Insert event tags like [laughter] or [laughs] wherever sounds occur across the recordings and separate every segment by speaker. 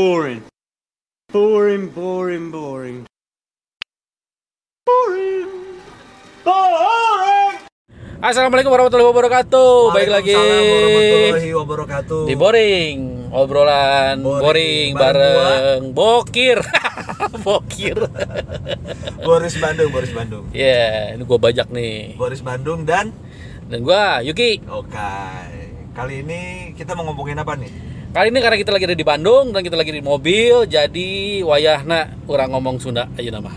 Speaker 1: Boring. Boring, boring, boring. Boring. Boring.
Speaker 2: Assalamualaikum warahmatullahi wabarakatuh. Oh, Baik lagi
Speaker 3: Waalaikumsalam warahmatullahi wabarakatuh.
Speaker 2: di Boring, obrolan
Speaker 3: Boring,
Speaker 2: boring,
Speaker 3: bareng
Speaker 2: bareng Bokir. [laughs] Bokir.
Speaker 3: Boris Bandung, Boris Bandung.
Speaker 2: Ya, ini gua bajak nih.
Speaker 3: Boris Bandung dan
Speaker 2: Dan gua Yuki.
Speaker 3: Okai. Kali ini kita mau ngomongin apa nih?
Speaker 2: Kali ini karena kita lagi ada di Bandung dan kita lagi di mobil, jadi wayahna orang ngomong Sunda aja nama.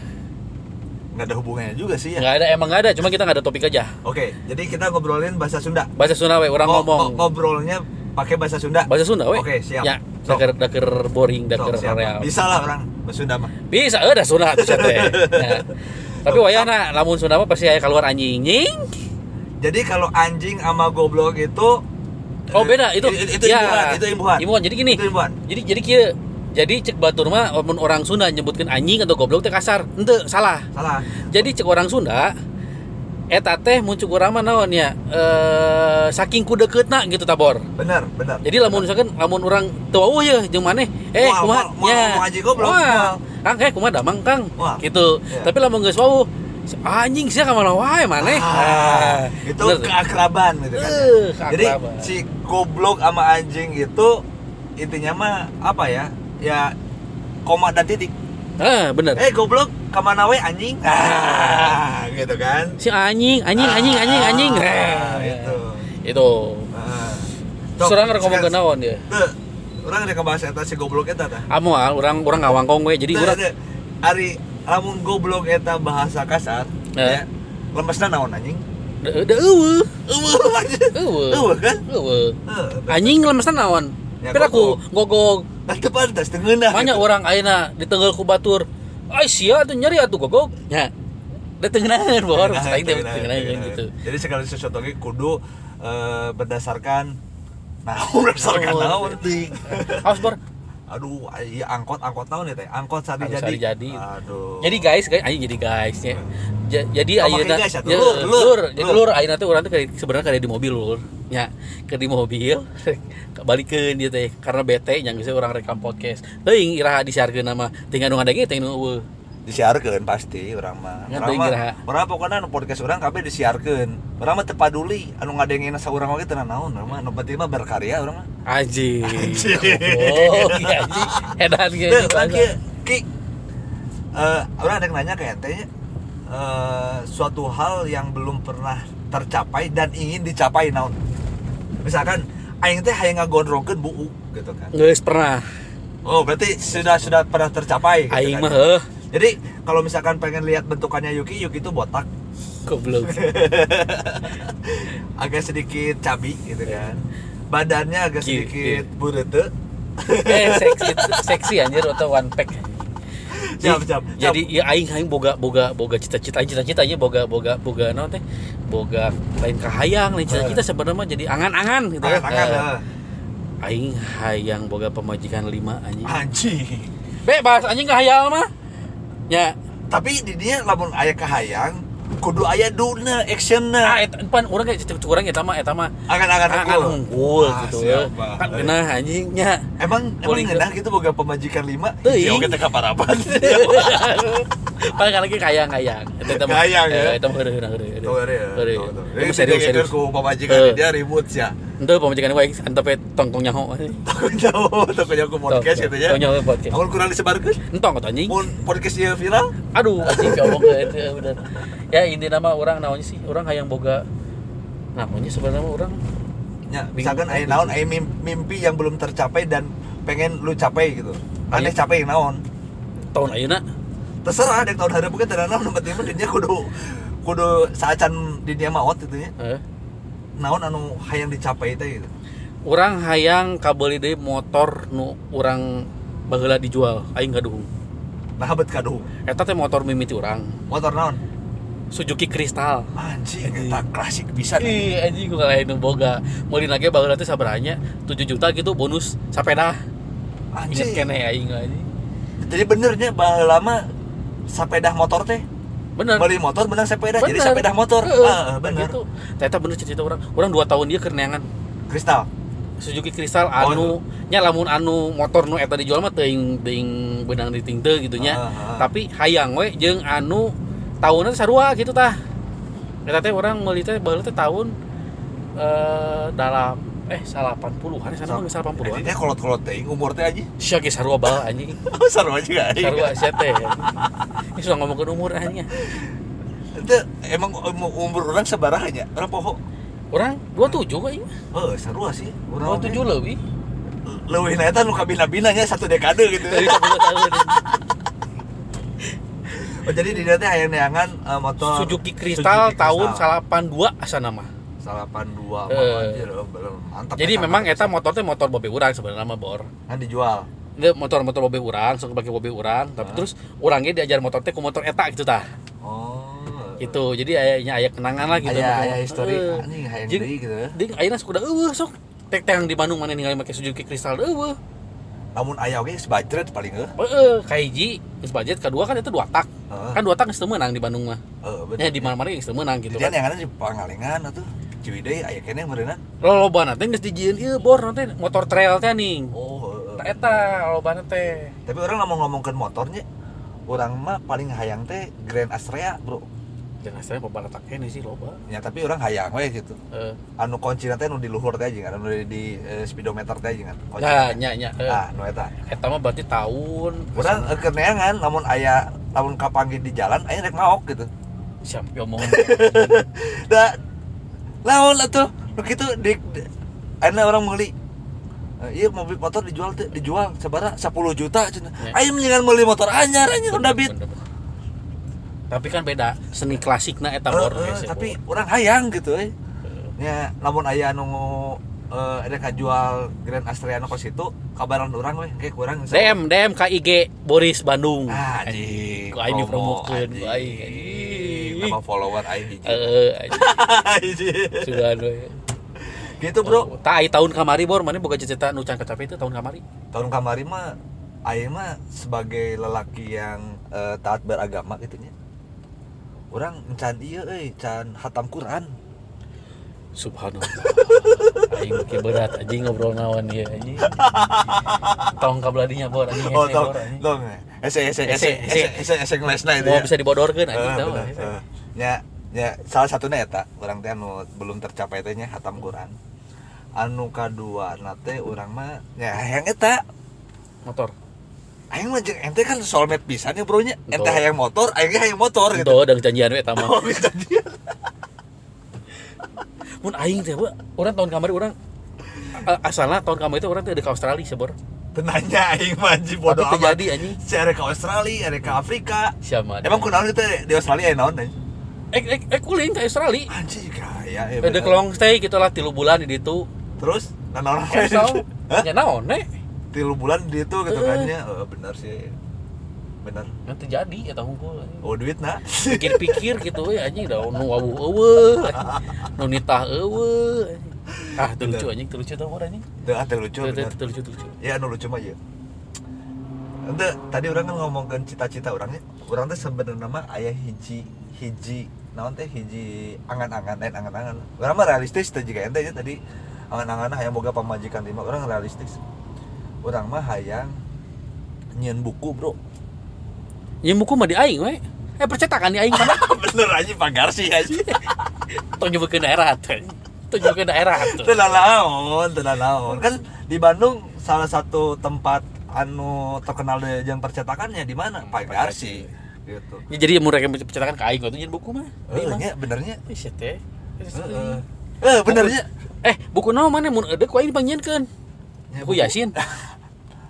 Speaker 3: Nggak ada hubungannya juga sih ya.
Speaker 2: Nggak ada, emang nggak ada. Cuma kita nggak ada topik aja.
Speaker 3: Oke, jadi kita ngobrolin bahasa Sunda.
Speaker 2: Bahasa Sunda we, orang
Speaker 3: Ngo-
Speaker 2: ngomong.
Speaker 3: ngo- Ngobrolnya pakai bahasa Sunda.
Speaker 2: Bahasa Sunda we.
Speaker 3: Oke, siap.
Speaker 2: Ya,
Speaker 3: Sok.
Speaker 2: daker daker boring, daker
Speaker 3: Sok, siapa?
Speaker 2: real.
Speaker 3: Bisa lah orang bahasa Sunda mah.
Speaker 2: Bisa, eh dah sunah atuh teh.
Speaker 3: [laughs]
Speaker 2: Nah. Tapi wayahna lamun sunah mah pasti aya keluar anjing. Nying.
Speaker 3: Jadi kalau anjing sama goblok itu eh,
Speaker 2: Oh, beda itu.
Speaker 3: Itu, itu imbuhan, itu imbuhan.
Speaker 2: Jadi gini.
Speaker 3: Itu imbuhan.
Speaker 2: Jadi jadi kieu. Jadi cek batur mah lamun orang Sunda nyebutkeun anjing atau goblok teh kasar. Henteu, salah.
Speaker 3: Salah.
Speaker 2: Jadi cek orang Sunda eta teh muncul urang mah naon ya? Eh saking kudekeutna gitu tabor.
Speaker 3: Benar, benar.
Speaker 2: Jadi lamun misalkan lamun orang tua oh ya jeung maneh eh
Speaker 3: Wah,
Speaker 2: kumaha
Speaker 3: moal, moal, ngomong aja goblok,
Speaker 2: Wah,
Speaker 3: moal.
Speaker 2: Kang eh kumaha damang Kang
Speaker 3: Wah.
Speaker 2: gitu.
Speaker 3: Iya.
Speaker 2: Tapi lamun geus wau "Ah, anjing sia ka mana wae maneh.
Speaker 3: Ah, itu
Speaker 2: bener tuh.
Speaker 3: keakraban gitu kan. ya.
Speaker 2: Eh,
Speaker 3: Jadi
Speaker 2: keakraban.
Speaker 3: si goblok sama anjing itu intinya mah apa ya? Ya koma dan titik.
Speaker 2: Ah, bener.
Speaker 3: Eh goblok kemana we anjing? Ah, gitu kan.
Speaker 2: Si anjing, anjing, anjing, anjing, anjing.
Speaker 3: Ah,
Speaker 2: Ah,
Speaker 3: gitu.
Speaker 2: Itu.
Speaker 3: Ah. Sok,
Speaker 2: Surang rek ngomong
Speaker 3: sekarang-
Speaker 2: naon ya.
Speaker 3: Teu, Orang ada ngebahas eta si goblok eta tah.
Speaker 2: Amoal ah, urang urang ngawangkong we jadi
Speaker 3: Teu,
Speaker 2: urang
Speaker 3: teu. Ari lamun goblok eta bahasa kasar,
Speaker 2: Eh.
Speaker 3: ya. Lemesna naon anjing? [laughs]
Speaker 2: deueuh.
Speaker 3: Eueuh anjing.
Speaker 2: Eueuh.
Speaker 3: Eueuh kan?
Speaker 2: Eueuh.
Speaker 3: Heuh.
Speaker 2: Anjing lemesna naon?
Speaker 3: Ya,
Speaker 2: Pira aku gogog
Speaker 3: Teu pantas teu ngeunah.
Speaker 2: banyak orang ayeuna di Tenggel ku batur. Ai sia atuh nyeri atuh gogog. Nya. Da tengenaheun bor,
Speaker 3: Tengenahan,
Speaker 2: saing teh
Speaker 3: tengenahan,
Speaker 2: tengenaheun
Speaker 3: tengenahan.
Speaker 2: gitu.
Speaker 3: Jadi segala sesuatu lagi kudu eh, berdasarkan naon [laughs] berdasarkan
Speaker 2: Oh,
Speaker 3: naon.
Speaker 2: penting. Awas bor.
Speaker 3: [laughs] Aduh, iya angkot angkot naon ya teh. Angkot sari
Speaker 2: Angkot
Speaker 3: jadi.
Speaker 2: sari jadi.
Speaker 3: Aduh.
Speaker 2: Jadi guys, guys, anjing jadi guys ya. Ja- jadi
Speaker 3: Oh, pakai
Speaker 2: ayeuna
Speaker 3: guys, atuh.
Speaker 2: ya,
Speaker 3: Lur, lur,
Speaker 2: lur, jadi
Speaker 3: lur.
Speaker 2: lur ayeuna teh urang teh kayak- sebenarnya kada di mobil lur. Nya, ke di mobil [laughs] balikeun dia teh karena bete yang geus urang rekam podcast. Teuing iraha disiarkeun nama teu ngandung ada ge teh nu eueuh.
Speaker 3: disiarkeun pasti urang mah.
Speaker 2: Nggak
Speaker 3: Urang
Speaker 2: teuing
Speaker 3: mah
Speaker 2: geraha.
Speaker 3: urang pokokna nu podcast urang kabeh disiarkeun. Urang mah teu paduli anu ngadengin saurang oge teu naon urang mah nu penting mah berkarya urang mah.
Speaker 2: Anjing.
Speaker 3: Anjing.
Speaker 2: Oh, anjing. Edan ge.
Speaker 3: Teu, urang kieu ya, ki Eh, orang ada yang nanya ke ente eh, suatu hal yang belum pernah tercapai dan ingin dicapai naon misalkan aing teh hayang ngagondrongkeun buuk gitu kan
Speaker 2: Geus pernah.
Speaker 3: oh berarti sudah sudah pernah tercapai gitu
Speaker 2: Aing
Speaker 3: kan.
Speaker 2: mah heuh.
Speaker 3: jadi kalau misalkan pengen lihat bentukannya Yuki Yuki itu botak [laughs]
Speaker 2: Goblok.
Speaker 3: agak sedikit cabi gitu kan badannya agak
Speaker 2: Ki-
Speaker 3: sedikit burete
Speaker 2: Eh, seksi seksi anjir atau one pack.
Speaker 3: siap siap
Speaker 2: Jadi ya aing aing boga boga boga cita-cita aing cita-cita aja boga boga boga naon teh? Boga lain kahayang, lain cita-cita sebenarnya mah jadi angan-angan gitu kan.
Speaker 3: tangan
Speaker 2: Eh, Aing hayang boga pemajikan lima anjing.
Speaker 3: anjing
Speaker 2: Bebas anjing kahayal mah. Ya,
Speaker 3: tapi di dia lamun ayah kahayang kudu ayah
Speaker 2: ah
Speaker 3: duna actionnya
Speaker 2: eta pan urang ge urang eta mah eta mah
Speaker 3: akan akan
Speaker 2: angan unggul
Speaker 3: Ah,
Speaker 2: gitu
Speaker 3: siap,
Speaker 2: ya.
Speaker 3: Pak.
Speaker 2: Kan genah anjingnya.
Speaker 3: emang emang
Speaker 2: Boleh
Speaker 3: ngenah gitu boga pemajikan lima
Speaker 2: Teuing.
Speaker 3: ya oke teka parapan [laughs]
Speaker 2: Paling kan lagi kayang kayang.
Speaker 3: Kayang, ya?
Speaker 2: Itu mah heureuh heureuh heureuh.
Speaker 3: Tuh, ya,
Speaker 2: Heureuh.
Speaker 3: tuh, tuh.
Speaker 2: Itu
Speaker 3: Jadi
Speaker 2: serius
Speaker 3: dia
Speaker 2: serius.
Speaker 3: ku pemajikan
Speaker 2: Eh.
Speaker 3: dia ribut sih
Speaker 2: Henteu pamajikan gue antep tongtong nyaho.
Speaker 3: takut jauh takut jauh ke podcast gitu ya
Speaker 2: Tong nyaho podcast.
Speaker 3: Aku kurang disebarkan
Speaker 2: Entong atau anjing.
Speaker 3: Mun podcast dia viral
Speaker 2: Aduh, anjing ngomong ke itu bener. Ya ini nama orang naonnya sih? Orang hayang boga namanya sebenarnya mah orang
Speaker 3: ya, Misalkan ayah naon ayah mim- mimpi yang belum tercapai dan pengen lu capai gitu Aneh
Speaker 2: Banyak.
Speaker 3: capai naon
Speaker 2: tahun ayeuna
Speaker 3: Terserah dek tahun hari mungkin terang naon Nomor timun dia kudu Kudu saacan di dia maot gitu ya
Speaker 2: eh,
Speaker 3: naon anu hayang dicapai teh gitu.
Speaker 2: orang hayang kabeuli deui motor nu orang baheula dijual aing gaduhung.
Speaker 3: Nah, bet kaduh.
Speaker 2: Eta teh motor mimiti orang
Speaker 3: Motor naon?
Speaker 2: Suzuki Kristal.
Speaker 3: Anjing, eta klasik bisa.
Speaker 2: Ih, anjing gue kalahin nu boga. Mau dinage baheula teh sabaranya 7 juta gitu bonus sapeda. Ingat
Speaker 3: Anjing.
Speaker 2: kene aing anjing.
Speaker 3: Jadi benernya baheula lama sepeda motor teh.
Speaker 2: Bener.
Speaker 3: Beli motor benang sepeda, jadi
Speaker 2: Bener.
Speaker 3: sepeda motor.
Speaker 2: Heeh,
Speaker 3: Heeh, bener.
Speaker 2: Gitu. Ternyata bener cerita orang. Orang 2 tahun dia kerenangan.
Speaker 3: Kristal.
Speaker 2: Suzuki Crystal
Speaker 3: Oh,
Speaker 2: anu nya lamun anu motor nu eta dijual mah teuing teuing benang di teu gitu nya.
Speaker 3: Ah, ah.
Speaker 2: Tapi hayang we jeung anu tahunna sarua gitu tah. Eta teh urang meuli teh baheula teh tahun eh dalam eh 80-an sana mah geus 80-an.
Speaker 3: Ini kolot-kolot teuing umur teh aja. [laughs] Oh,
Speaker 2: Sia ge ya, sarua bae [laughs] anjing.
Speaker 3: Sarua juga. aing.
Speaker 2: Sarua sia teh. Ini sudah ngomongkeun umur anjing.
Speaker 3: Itu emang um- umur orang sabaraha nya? Orang poho.
Speaker 2: Orang 27 gue ini.
Speaker 3: Heuh, sarua sih. Urang
Speaker 2: 27 iya. lebih.
Speaker 3: leuwih na eta nu kabina-bina nya satu dekade gitu.
Speaker 2: Dari 10 tahun.
Speaker 3: Oh, jadi di dieu teh hayang-hayangan eh, motor
Speaker 2: Suzuki Crystal
Speaker 3: Suzuki
Speaker 2: tahun
Speaker 3: Crystal.
Speaker 2: 82 asa nama.
Speaker 3: 82
Speaker 2: Eh.
Speaker 3: mah, anjir, eh, belum. mantap
Speaker 2: Jadi
Speaker 3: eta.
Speaker 2: memang eta motor teh motor bobe urang sebenarnya mah bor.
Speaker 3: kan dijual
Speaker 2: Dia motor-motor bobe urang, sok pakai bobe urang, tapi
Speaker 3: Hah?
Speaker 2: terus urangnya diajar motor teh ku motor eta gitu tah.
Speaker 3: oh
Speaker 2: Gitu. Jadi ayahnya ayah kenangan lah gitu.
Speaker 3: aya aya histori
Speaker 2: Heeh.
Speaker 3: anjing hayang
Speaker 2: Jeung-
Speaker 3: deui gitu
Speaker 2: Ding ayeuna sok udah eueuh sok tek teh yang di Bandung mana ningali make Suzuki Crystal eh, eueuh.
Speaker 3: lamun aya oge sebajret paling eh. eueuh
Speaker 2: Heeh, kahiji geus budget kedua kan itu dua tak.
Speaker 3: Heeh.
Speaker 2: Kan dua tak geus teu meunang di Bandung mah.
Speaker 3: Heeh,
Speaker 2: Ya di mana-mana geus teu meunang gitu
Speaker 3: Eh, Jadi
Speaker 2: kan.
Speaker 3: yang ada di Pangalengan atuh. Ciwidey aya kene eh. meureunna.
Speaker 2: Lolobana teh geus dijieun ieu bor nanti motor trail teh nih.
Speaker 3: Oh, heeh.
Speaker 2: Eta lolobana teh.
Speaker 3: Tapi orang mau ngomongkeun motornya orang mah paling hayang teh Grand Astrea, Bro.
Speaker 2: Dan asalnya pembalap ini sih loba.
Speaker 3: Ya tapi orang hayang we gitu.
Speaker 2: Eh,
Speaker 3: Anu kunci teh nu di luhur teh jeung anu di, di eh, speedometer teh jeung kunci.
Speaker 2: nah, nya nya. eh.
Speaker 3: Nah, nu eta.
Speaker 2: Eta mah berarti tahun
Speaker 3: Urang eh, keneangan lamun aya lamun kapanggih di jalan aya rek maok
Speaker 2: [laughs]
Speaker 3: gitu. eh.
Speaker 2: siapa
Speaker 3: [laughs]
Speaker 2: ngomong.
Speaker 3: Da lawan atuh nu kitu di, di ayeuna urang meuli Eh, Iya mobil motor dijual teh dijual sabara 10 juta cenah.
Speaker 2: Ya.
Speaker 3: Ayo mendingan meuli motor anyar anjir udah bit.
Speaker 2: Bener, bener. Tapi kan beda seni klasik na eta
Speaker 3: Eh,
Speaker 2: bor.
Speaker 3: eh,
Speaker 2: hese,
Speaker 3: tapi
Speaker 2: bor.
Speaker 3: orang hayang gitu eh.
Speaker 2: Eh,
Speaker 3: Ya, lamun aya nu eh ada kajual Grand Astrea ke situ, kabaran orang weh, kayak kurang.
Speaker 2: DM DM KIG Boris Bandung.
Speaker 3: Ah, anjing.
Speaker 2: Ku aing
Speaker 3: promo,
Speaker 2: dipromokeun, ku aing,
Speaker 3: anjing.
Speaker 2: anjing.
Speaker 3: Nama follower aing hiji.
Speaker 2: Eh, anjing,
Speaker 3: Anjing.
Speaker 2: sugan we.
Speaker 3: [laughs] Gitu, Bro.
Speaker 2: Ta ai tahun kamari bor, mana boga cerita nu can kecapi itu tahun kamari.
Speaker 3: Tahun kamari mah aing mah sebagai lelaki yang eh, taat beragama gitu nya. Urang encan ieu euy, can hatam Quran.
Speaker 2: Subhanallah. Aing makin berat anjing ngobrol naon ieu anjing. Tong kabladinya bor anjing. hese,
Speaker 3: Oh, tong
Speaker 2: bor, anjing.
Speaker 3: tong. Ese ese ese
Speaker 2: Ese, ese.
Speaker 3: ese ese ese ngelesna itu
Speaker 2: Mau
Speaker 3: ya.
Speaker 2: bisa dibodorkeun anjing
Speaker 3: Eh,
Speaker 2: tahu.
Speaker 3: bener, eh. nya nya salah satunya eta orang teh anu belum tercapai teh nya hatam Quran anu kadua na teh urang mah nya hayang eta
Speaker 2: Motor.
Speaker 3: aing mah jeung ente kan soulmate pisan ya bro nya ente
Speaker 2: Betul.
Speaker 3: hayang motor aing ge hayang motor gitu
Speaker 2: Tuh dan janjian we eta mah.
Speaker 3: Oh, bisa dia.
Speaker 2: Mun aing teh we, urang tahun kamari urang a- asalna tahun kamari itu urang teh ada ke Australia sebor.
Speaker 3: Tenanya aing mah anjing
Speaker 2: Tapi
Speaker 3: bodo amat.
Speaker 2: terjadi anjing.
Speaker 3: Si ada ke Australia, ada ke Afrika.
Speaker 2: Siapa?
Speaker 3: Emang kunaon itu di Australia aya naon anjing?
Speaker 2: eh eh eh kuling ke Australia.
Speaker 3: Anjing kaya ya.
Speaker 2: Ada
Speaker 3: Iya, bener.
Speaker 2: long stay gitu lah tilu bulan di ditu.
Speaker 3: Terus nanaon?
Speaker 2: Kesel.
Speaker 3: Hah?
Speaker 2: Ya naon we?
Speaker 3: [laughs] Tilu bulan di itu gitu
Speaker 2: Eh.
Speaker 3: kan nya. Eh, bener sih. Bener.
Speaker 2: Nanti jadi eta hukum. anjing.
Speaker 3: Oh duit na. [laughs]
Speaker 2: pikir-pikir gitu ya anjing dah nu awu eueuh nu nitah eueuh ah teu lucu anjing teu lucu tau orang anjing
Speaker 3: Tuh, ah, teu lucu
Speaker 2: teu teu-
Speaker 3: bener.
Speaker 2: teu lucu teu lucu
Speaker 3: Ya anu lucu mah ya. Ente, tadi orang kan ngomongkan cita-cita orangnya. Orang teh sebenarnya mah aya hiji hiji naon teh hiji angan-angan lain angan-angan. Orang mah realistis teh juga ente ya tadi angan-angan hayang boga pamajikan lima orang realistis. Orang mah hayang nyen buku, Bro.
Speaker 2: nyeum buku mah di aing we eh percetakan di aing mana
Speaker 3: Bener aja Pak Garsi aja.
Speaker 2: tong nyebutkeun daerah teh tong nyebutkeun daerah tuh
Speaker 3: Teu laon, teu laon. Kan di Bandung salah satu tempat anu terkenal di- yang percetakannya di mana? Pak Garsi. Gitu.
Speaker 2: Ya, jadi mun rek percetakan ka aing tuh nyeun buku mah
Speaker 3: Eh,
Speaker 2: Di mah.
Speaker 3: nya benernya.
Speaker 2: Eh, sia teh Eh, sia teh.
Speaker 3: Eh, eh, benernya.
Speaker 2: eh buku naon mana mun eudeuk ku aing dipanggieunkeun buku Yasin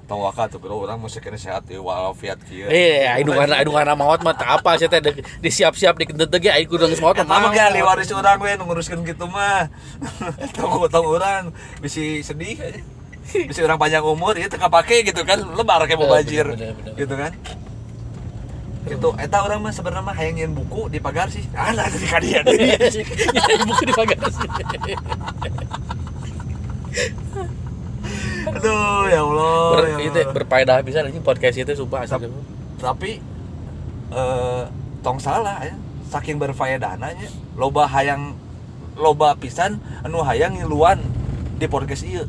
Speaker 3: Tawaka tuh bro, orang musik ini sehat ya, walafiat kieu.
Speaker 2: eh aing nu kana aing nu kana maot mah teu apa sia teh deuk- disiap-siap dikentut ge aing kudu geus maot
Speaker 3: Eta mah
Speaker 2: mah
Speaker 3: ge ahli waris urang we nu nguruskeun kitu gitu, mah. [laughs] Tahu tahu urang bisi sedih aja. Bisi orang panjang umur ya teu kapake gitu kan, lebar kayak
Speaker 2: Eh,
Speaker 3: mau banjir.
Speaker 2: bener, bener, bener.
Speaker 3: Gitu kan. Gitu, eta orang mah sebenarnya mah hayang nyeun buku di pagar sih. Ah, nah di
Speaker 2: Iya,
Speaker 3: kadia deui.
Speaker 2: Ya, buku di bagasi.
Speaker 3: Aduh, ya Allah.
Speaker 2: Ber,
Speaker 3: ya
Speaker 2: itu
Speaker 3: Allah.
Speaker 2: berfaedah bisa anjing podcast itu sumpah asal.
Speaker 3: Tapi- Tapi eh tong salah ya. Saking berfaedahnanya loba hayang loba pisan anu hayang ngiluan di podcast ieu.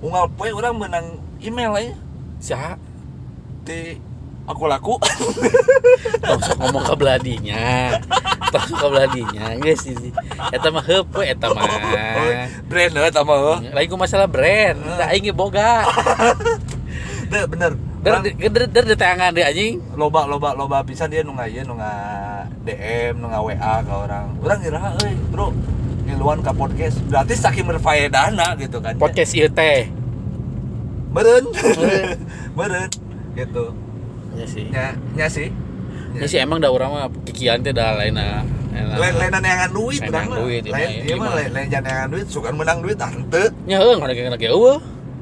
Speaker 3: unggal poe orang menang email aja
Speaker 2: Siapa?
Speaker 3: di aku laku
Speaker 2: Tong sok ngomong ke beladinya. Tong sok ke beladinya. Geus sih. Eta mah heupe eta mah. Eh.
Speaker 3: [laughs] brand lah sama lo
Speaker 2: Lain ku masalah brand. Tah aing ge boga.
Speaker 3: Deh, bener
Speaker 2: Der
Speaker 3: Orang
Speaker 2: der der tetangan deh anjing.
Speaker 3: loba loba loba pisan dia nunggah iya nunggah DM nunggah WA ke orang orang kira eh bro ngiluan ke podcast berarti saking berfaedahna gitu kan
Speaker 2: Podcast ieu teh.
Speaker 3: meren
Speaker 2: Meureun.
Speaker 3: [laughs] meren gitu
Speaker 2: Ya sih.
Speaker 3: nya nya sih
Speaker 2: Ya sih emang da urang mah kikian teh da lain
Speaker 3: lain lain neangan duit
Speaker 2: Lain
Speaker 3: urang
Speaker 2: neangan
Speaker 3: mah.
Speaker 2: duit, ya, ya,
Speaker 3: lain iya mah
Speaker 2: gimana?
Speaker 3: lain lain jangan neangan duit suka menang duit ah henteu
Speaker 2: Nya heuh ngono ge lagi eueuh.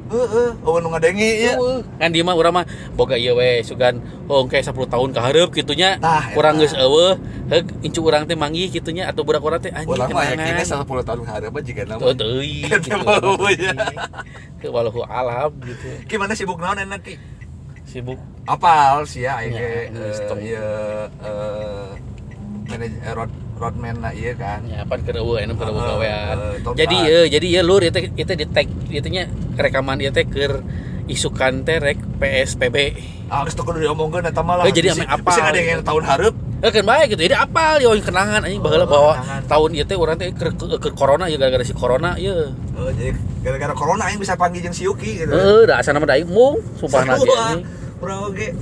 Speaker 3: heeh eueuh nu ngadengi iya. ieu
Speaker 2: Eueuh. Kan dia mah urang mah boga ieu we sugan hong kayak 10 tahun ka hareup kitu nya.
Speaker 3: Tah,
Speaker 2: Kurang
Speaker 3: eta.
Speaker 2: geus eueuh. Heug incu urang teh manggih kitu nya atuh budak urang teh anjing.
Speaker 3: Orang mah
Speaker 2: kenangan.
Speaker 3: yakinnya 10 ya, tahun hareup mah jiga nama.
Speaker 2: Tuh
Speaker 3: [laughs]
Speaker 2: deui.
Speaker 3: Eta mau ya.
Speaker 2: Itu walau alam gitu.
Speaker 3: Gimana sibuk naon enak ki?
Speaker 2: Sibuk.
Speaker 3: apal sih ya aing
Speaker 2: Ya,
Speaker 3: ge
Speaker 2: geus
Speaker 3: eh,
Speaker 2: tong.
Speaker 3: ieu eh manajer eh, road roadman na ieu kan.
Speaker 2: Ya, pan keur eueuh enem keur eueuh
Speaker 3: Heeh,
Speaker 2: gawean.
Speaker 3: heeh, tongkat.
Speaker 2: Jadi ieu, jadi ieu lur ieu teh ieu teh di tag ieu teh nya rekaman ieu teh keur isukan teh rek PSPB.
Speaker 3: Ah geus teu kudu diomongkeun eta mah lah.
Speaker 2: Eh, jadi
Speaker 3: Bisi-
Speaker 2: ame apal
Speaker 3: bisi ada yang tahun hareup.
Speaker 2: Eh kan baik gitu. Jadi apal ya kenangan anjing baheula
Speaker 3: Oh,
Speaker 2: bawa
Speaker 3: kenangan.
Speaker 2: tahun ieu teh urang teh keur keur- keur corona ya gara-gara si corona ieu.
Speaker 3: Oh, jadi gara-gara corona aing bisa panggil jeung si Yuki gitu.
Speaker 2: Heeh, da asana mah daing mung sumpah
Speaker 3: Sarua.
Speaker 2: lagi anjing.
Speaker 3: Urang oge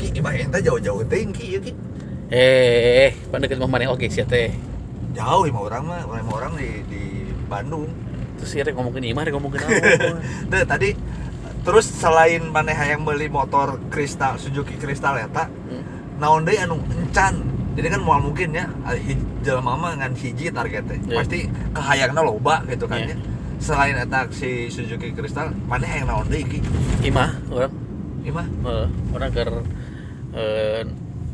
Speaker 3: ki imah eta jauh-jauh teuing ki ieu ki.
Speaker 2: Eh, pan deukeut mah maneh oge sia teh.
Speaker 3: Jauh imah urang mah, urang mah orang di di Bandung.
Speaker 2: Terus ieu rek ngomongkeun imah rek ngomongkeun naon.
Speaker 3: [laughs] Deh tadi terus selain maneh yang beli motor kristal Suzuki kristal eta,
Speaker 2: Hmm.
Speaker 3: naon deui anu encan jadi kan moal mungkin ya hij- jelema mah ngan hiji targetnya
Speaker 2: Iya.
Speaker 3: pasti kahayangna loba gitu kan
Speaker 2: Iya.
Speaker 3: ya selain eta si Suzuki Crystal mana yang naon deui ki
Speaker 2: Imah urang
Speaker 3: imah
Speaker 2: Heeh, orang keur eh,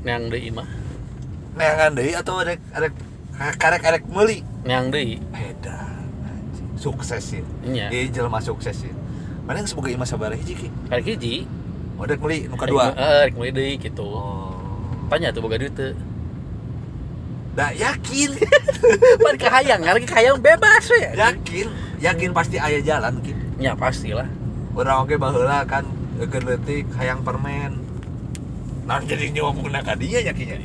Speaker 2: neang deui imah,
Speaker 3: neangan deui atau ada ada karek karek meuli
Speaker 2: neang deui.
Speaker 3: beda anjing. sukses sih
Speaker 2: Iya.
Speaker 3: ieu jelema sukses sih mana yang semoga imah sabar hiji ki Oh,
Speaker 2: Karek hiji. Eh,
Speaker 3: ada meuli nu kadua
Speaker 2: Heeh, rek mulai deui kitu.
Speaker 3: oh
Speaker 2: Tanya tuh boga duit [laughs] teu.
Speaker 3: da
Speaker 2: [laughs]
Speaker 3: yakin
Speaker 2: Pan kahayang, karek kahayang bebas we.
Speaker 3: yakin yakin pasti aya jalan ki
Speaker 2: Ya pastilah.
Speaker 3: orang oke baheula kan eukeun leutik hayang permen nah jadi nyawa menggunakan ka dia ya? yakinya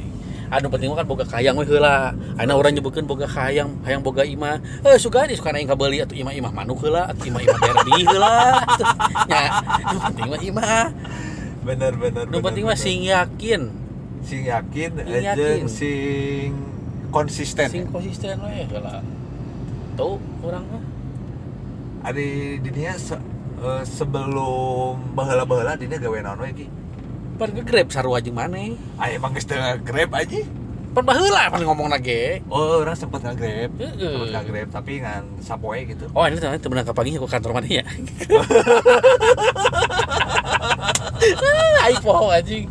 Speaker 2: Anu penting mah kan boga kahayang we heula. Ana urang nyebutkeun boga kahayang, hayang boga imah. Eh sugan suka aing kabeuli atuh imah-imah manuk heula, atuh imah-imah derby heula. [laughs] Atuh, Nya, nu penting mah imah.
Speaker 3: bener bener
Speaker 2: Nu
Speaker 3: bener,
Speaker 2: penting mah
Speaker 3: bener.
Speaker 2: sing yakin,
Speaker 3: sing yakin
Speaker 2: Sing
Speaker 3: eh,
Speaker 2: yakin.
Speaker 3: jeung sing konsisten ya.
Speaker 2: sing konsisten we heula. Tuh urang mah.
Speaker 3: ada di dinya se- eh, sebelum baheula baheula dinya gawe naon we ki
Speaker 2: Pan gegrep sarua jeung maneh.
Speaker 3: ah emang geus teu grab aja
Speaker 2: Pan baheula pan ngomong lagi.
Speaker 3: oh orang sempat nge-grab
Speaker 2: Heeh.
Speaker 3: sempat nge-grab tapi ngan sapoe gitu
Speaker 2: Oh ini ternyata temen angkat paginya ke kantor mana ya? [laughs] Ayo poho anjing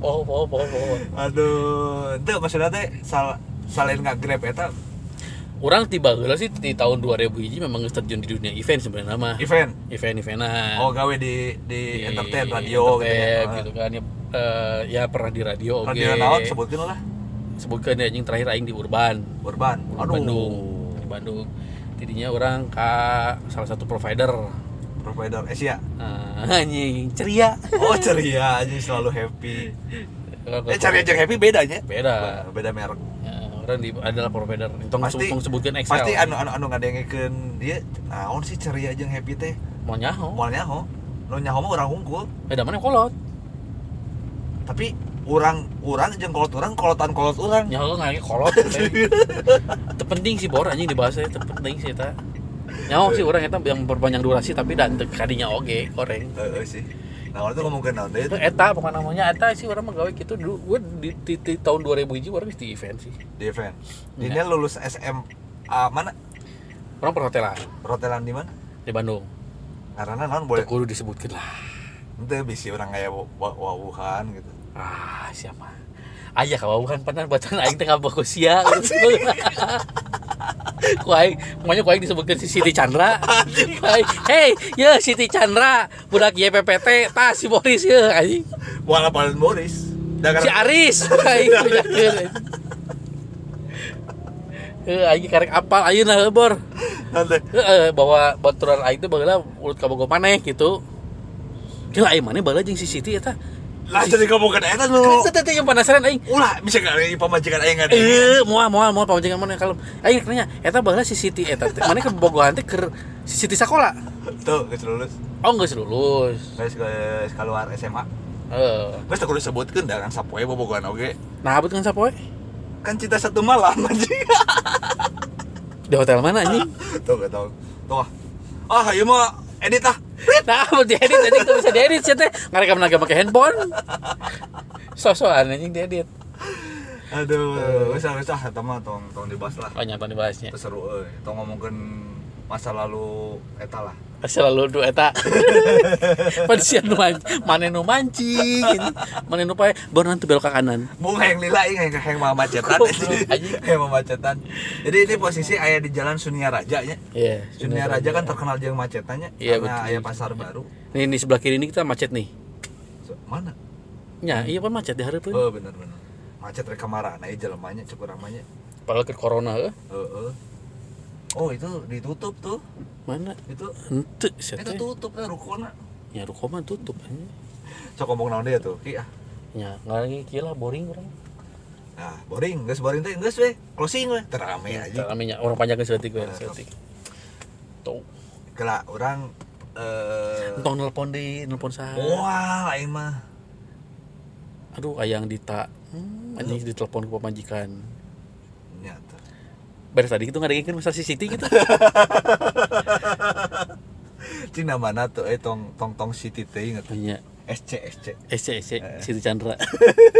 Speaker 2: Poho poho poho poho
Speaker 3: aduh itu maksudnya teh sal salin nge-grab eta
Speaker 2: Orang tiba heula sih di tahun 2000 hiji memang geus terjun di dunia event sebenarnya mah
Speaker 3: event
Speaker 2: Event-eventan Iya,
Speaker 3: Oh gawe di di entertain radio
Speaker 2: entertain,
Speaker 3: gitu
Speaker 2: gitu
Speaker 3: ya.
Speaker 2: kan ya, eh, ya pernah di radio oke
Speaker 3: Ah. Radio naon sebutin lah.
Speaker 2: Sebutkan ya anjing terakhir aing di Urban
Speaker 3: Urban. Aduh.
Speaker 2: Bandung Di Bandung Tidinya orang ke salah satu provider
Speaker 3: Provider Asia.
Speaker 2: Eh, [laughs] Anjing ceria
Speaker 3: Oh ceria aja selalu happy.
Speaker 2: Orang ke-
Speaker 3: Eh cari aja happy bedanya.
Speaker 2: Beda.
Speaker 3: Beda merek.
Speaker 2: Ya, orang di adalah provider. Tong
Speaker 3: Pasti-
Speaker 2: tong sebutkan Excel.
Speaker 3: Pasti anu anu anu ngadengekeun dia naon sih ceria jeung happy teh.
Speaker 2: mau nyaho.
Speaker 3: Moal nyaho. Nu nyaho mah urang hungkul,
Speaker 2: Beda mana kolot?
Speaker 3: tapi urang urang jeung kolot urang kolotan kolot urang.
Speaker 2: Nyaho kan ngake kolot. Terpenting sih bor anjing dibahasnya terpenting sih eta. Nyaho sih orang eta yang memperpanjang durasi tapi dan teu kadinya oge goreng.
Speaker 3: Heeh sih. Nah, orang tuh ngomongkeun naon deui
Speaker 2: Itu
Speaker 3: teh?
Speaker 2: eta pokoknya namanya eta sih orang menggawe gitu dulu. Gue di, di, di, tahun 2000 hiji orang di event sih.
Speaker 3: di event. Dinya lulus SMA mana?
Speaker 2: Orang perhotelan
Speaker 3: Rotelan di mana?
Speaker 2: di Bandung.
Speaker 3: Karena naon
Speaker 2: Teu
Speaker 3: boleh
Speaker 2: kudu disebutkeun lah.
Speaker 3: itu bisi orang kayak wawuhan gitu
Speaker 2: Ah, siapa? Ayah kawawuhan panan bacaan aing teh ngabagus sia. Ku aing, maunya ku aing disebutkeun si Siti Chandra. Ku aing, hey, ya Siti Chandra, budak YPPT, tah si Boris ya anjing.
Speaker 3: wala paling Boris
Speaker 2: Si Aris, ku aing bedakeun. Heuh, aing karek apal ayeuna heuh, Bor.
Speaker 3: Nanti.
Speaker 2: Heeh, bahwa baturan aing teh baheula urut ka boga maneh gitu. Gila aing maneh baheula jeung si Siti eta.
Speaker 3: Lah jadi kamu kan enak
Speaker 2: Kan
Speaker 3: lu.
Speaker 2: teh teh yang penasaran aing.
Speaker 3: Ulah bisa nggak ini pemajikan aing kan?
Speaker 2: Eh, moal moal moal pamajikan maneh kalem. Aing rek nanya, eta baheula si Siti eta teh maneh ke Bogohan teh keur si Siti sakola.
Speaker 3: Tuh, geus lulus.
Speaker 2: Oh, geus lulus.
Speaker 3: Geus geus keluar SMA.
Speaker 2: Heeh.
Speaker 3: Geus teu kudu sebutkeun da kang sapoe bobogohan oge.
Speaker 2: Nah, abut kan sapoe?
Speaker 3: Kan cinta satu malam anjing. [laughs]
Speaker 2: Di hotel mana anjing?
Speaker 3: Tuh gak tau. Tuh. ah. Ah, ieu mah edit ah.
Speaker 2: Nah, mau diedit anjing tuh bisa diedit sih teh. Ngarekam naga pakai handphone. Sosokan anjing diedit.
Speaker 3: Aduh, geus ah, geus ah eta mah tong tong dibahas lah.
Speaker 2: Oh, nyata dibahasnya.
Speaker 3: Teu seru euy. Tong ngomongkeun masa lalu eta lah.
Speaker 2: selalu du eta pensiun nu man- mane nu mancing gitu. mane nu pae baru nanti belok ke kanan
Speaker 3: Bung yang lila yang yang mah [laughs] macetan
Speaker 2: Anjing.
Speaker 3: Yang mah macetan Jadi ini posisi ayah di jalan Sunia Raja nya
Speaker 2: iya
Speaker 3: Sunia Raja kan terkenal jeung macetannya
Speaker 2: Iya,
Speaker 3: Karena
Speaker 2: betul.
Speaker 3: ayah pasar baru
Speaker 2: nih di sebelah kiri ini kita macet nih
Speaker 3: So, Mana?
Speaker 2: nya iya pan macet di hareupeun
Speaker 3: Oh bener bener Macet rek kamara Nah iya jelemanya cukup ramanya
Speaker 2: padahal ke corona heuh.
Speaker 3: Heeh. Eh, Oh itu ditutup tuh
Speaker 2: mana
Speaker 3: Itu
Speaker 2: henteu sia
Speaker 3: Itu
Speaker 2: teh
Speaker 3: tutup eh, lah rukona
Speaker 2: nya ruko mah tutup anjing.
Speaker 3: Sok ngomong naon deh tuh Ki ah
Speaker 2: nya ngarang kieu lah boring urang
Speaker 3: Nah boring Geus boring teh Geus weh Closing weh Terame aja
Speaker 2: Tapi nya orang panjang eh, sedetik we sedetik Nah, tuh
Speaker 3: Kela orang eh
Speaker 2: entong nelpon di nelpon saha
Speaker 3: Wah lain mah
Speaker 2: aduh ayang dita hmm, anjing ditelepon ke pamajikan
Speaker 3: Nyata
Speaker 2: beres tadi itu ngadengin masa si Siti [laughs] gitu
Speaker 3: Cina mana tuh eh tong tong tong city teh inget
Speaker 2: nya
Speaker 3: SC SC
Speaker 2: SC SC Siti Chandra.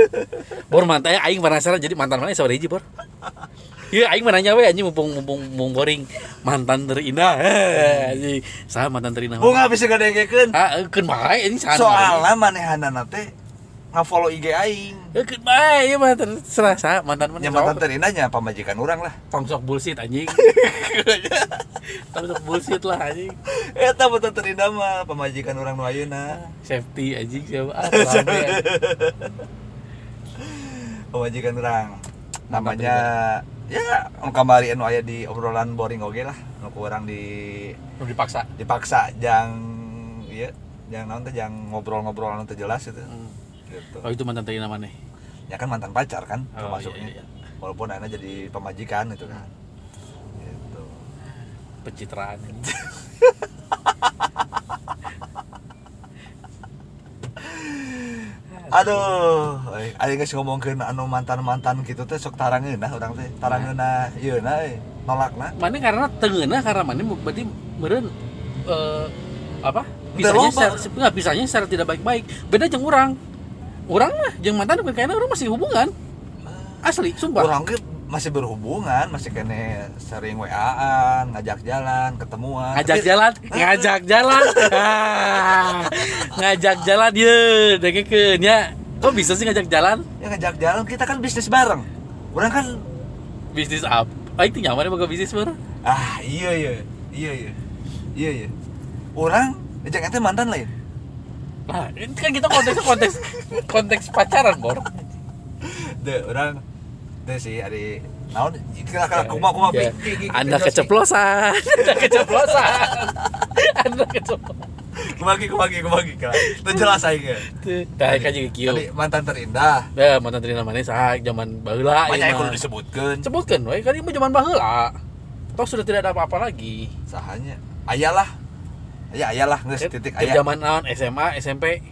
Speaker 2: [laughs] bor mantan eh, aing penasaran jadi mantan mana sabar [laughs] hiji bor. Iya aing mah nanya we anjing mumpung mumpung mumpung boring mantan terindah. Heh, Anjing saha mantan terindah.
Speaker 3: Bunga bisa gak dengekeun
Speaker 2: Ah keun bae anjing saha.
Speaker 3: Soalnya manehanana teh ngafollow IG aing
Speaker 2: Eh, keun bae iya ieu mantan serah saha Ya, mantan mana.
Speaker 3: Nya mantan terina nya pamajikan urang lah [laughs]
Speaker 2: tongsok bullshit [laughs] anjing. tongsok bullshit lah anjing.
Speaker 3: Eta mantan terina mah pamajikan urang nu ayeuna
Speaker 2: Safety anjing siapa ah rame.
Speaker 3: Pamajikan urang Namanya ya nu kamari anu aya di obrolan boring oge lah nu ku urang di
Speaker 2: Nu dipaksa.
Speaker 3: dipaksa jang ieu jang naon teh jang ngobrol-ngobrol anu teu jelas itu
Speaker 2: Hmm.
Speaker 3: gitu.
Speaker 2: Oh itu mantan terindah mana?
Speaker 3: ya kan mantan pacar kan
Speaker 2: Oh,
Speaker 3: termasuknya
Speaker 2: iya, iya.
Speaker 3: walaupun Ana jadi pemajikan itu kan gitu
Speaker 2: Pencitraan anjing. Ah, iya.
Speaker 3: aduh eh, ayo guys ngomongin anu mantan mantan gitu teh sok tarangeun nah orang teh tarangeun nah iya nah eh, nolak nah
Speaker 2: mana karena tengena karena mana mu- berarti meren eh, apa
Speaker 3: loba.
Speaker 2: pisahnya secara, se- nggak, pisahnya secara tidak baik-baik beda jeung orang orang mah jeung mantan bukan kayaknya orang masih hubungan asli sumpah
Speaker 3: orang ke masih berhubungan masih kene sering waan ngajak jalan ketemuan
Speaker 2: ngajak
Speaker 3: Tapi-
Speaker 2: jalan ngajak
Speaker 3: [laughs]
Speaker 2: jalan Ah, ngajak jalan iya. ye dengekeun ya kok bisa sih ngajak jalan
Speaker 3: ya ngajak jalan kita kan bisnis bareng orang kan
Speaker 2: bisnis apa ah, itu nyaman ya boga bisnis mah
Speaker 3: ah iya iya iya iya iya iya orang ngajak ente mantan lain
Speaker 2: nah ini kan kita konteks konteks konteks pacaran bor
Speaker 3: deh orang deh sih hari naon kita kan kuma kuma
Speaker 2: Ya. Anda keceplosan, [laughs] Anda keceplosan, Anda keceplosan.
Speaker 3: kumagi kumagi kumagi kan itu jelas aja
Speaker 2: Dah kan juga kieu.
Speaker 3: tadi mantan terindah
Speaker 2: Dah mantan terina mana saha zaman baheula
Speaker 3: banyak
Speaker 2: ieu
Speaker 3: yang kudu
Speaker 2: mah.
Speaker 3: disebutkan
Speaker 2: Sebutkeun we kan ieu mah zaman baheula. Toh sudah tidak ada apa-apa lagi.
Speaker 3: sahanya ayalah ya ayalah nggak titik
Speaker 2: Di
Speaker 3: ayah
Speaker 2: Zaman naon SMA, SMP.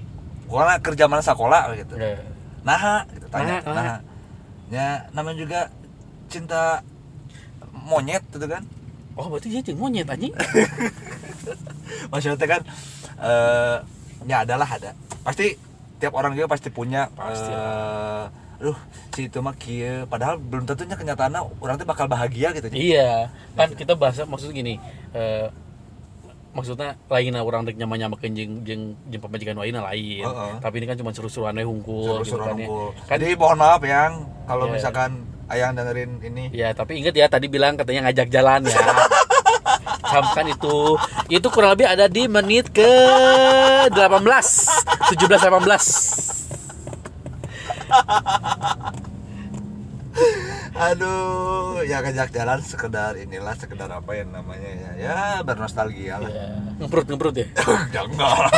Speaker 3: kurang kerja mana sekolah gitu
Speaker 2: Ya.
Speaker 3: nah gitu, tanya
Speaker 2: Naha,
Speaker 3: nah ya namanya juga cinta monyet gitu kan [laughs]
Speaker 2: Oh, berarti dia jeung monyet anjing.
Speaker 3: maksudnya kan eh ya adalah ada pasti tiap orang juga pasti punya
Speaker 2: Pasti.
Speaker 3: eh, aduh si itu mah kieu padahal belum tentunya kenyataannya orang tuh bakal bahagia gitu Ji.
Speaker 2: [laughs] iya, kan kita bahasa maksud gini, eh maksudnya lainnya orang dek nyama nyama jeung jeung jeung pamajikan lainnya lain.
Speaker 3: Heeh.
Speaker 2: Tapi ini kan cuma seru-seruan we hungkul gitu
Speaker 3: Suruh-suruh
Speaker 2: kan ya.
Speaker 3: nunggu.
Speaker 2: Kan
Speaker 3: jadi mohon maaf yang kalau
Speaker 2: Iya.
Speaker 3: misalkan ayang dengerin ini
Speaker 2: Ya, tapi ingat ya tadi bilang katanya ngajak jalan [laughs] ya. Camkan itu. Itu kurang lebih ada di menit ke 18. 17 18. Iya.
Speaker 3: aduh ya ngajak jalan sekedar inilah sekedar apa yang namanya ya ya bernostalgia lah
Speaker 2: Ya, ngeprut ngeprut ya.
Speaker 3: ya enggak lah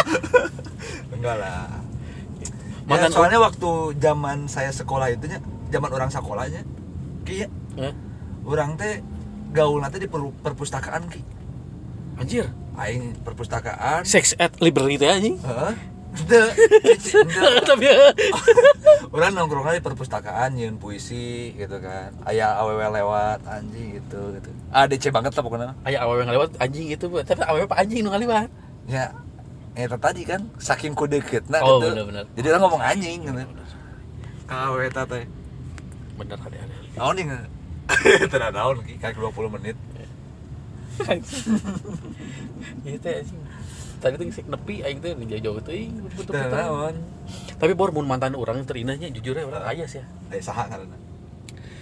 Speaker 3: enggak lah ya,
Speaker 2: Mantan-
Speaker 3: soalnya waktu zaman saya sekolah itunya zaman orang sekolahnya ki ya,
Speaker 2: Hah?
Speaker 3: orang teh gaul nanti di per- perpustakaan ki
Speaker 2: Anjir,
Speaker 3: aing perpustakaan
Speaker 2: sex at liberty teh anjing.
Speaker 3: Heeh. Teu, cici, teu.
Speaker 2: [laughs] Tapi ya,
Speaker 3: orang nongkrong di perpustakaan nyiun puisi gitu kan ayah aww lewat anjing gitu gitu ADC banget lah pokoknya
Speaker 2: aya awewe ngalewat anjing gitu, Bu. tapi awewe pak anjing nu ngaliwat.
Speaker 3: ya eta tadi kan saking ku deket nah
Speaker 2: Oh,
Speaker 3: gitu.
Speaker 2: bener-bener.
Speaker 3: jadi orang ngomong anjing gitu kawe eta teh
Speaker 2: Bener ada ada. [laughs]
Speaker 3: naon nih [laughs] tidak naon ki kaki 20 menit
Speaker 2: Iya teh anjing. Tadi tuh sik nepi aing teh jauh-jauh teuing
Speaker 3: tidak
Speaker 2: betul-betul.
Speaker 3: naon
Speaker 2: Tapi bor mun mantan orang terindahnya jujur ya orang ayah sih.
Speaker 3: eh saha karena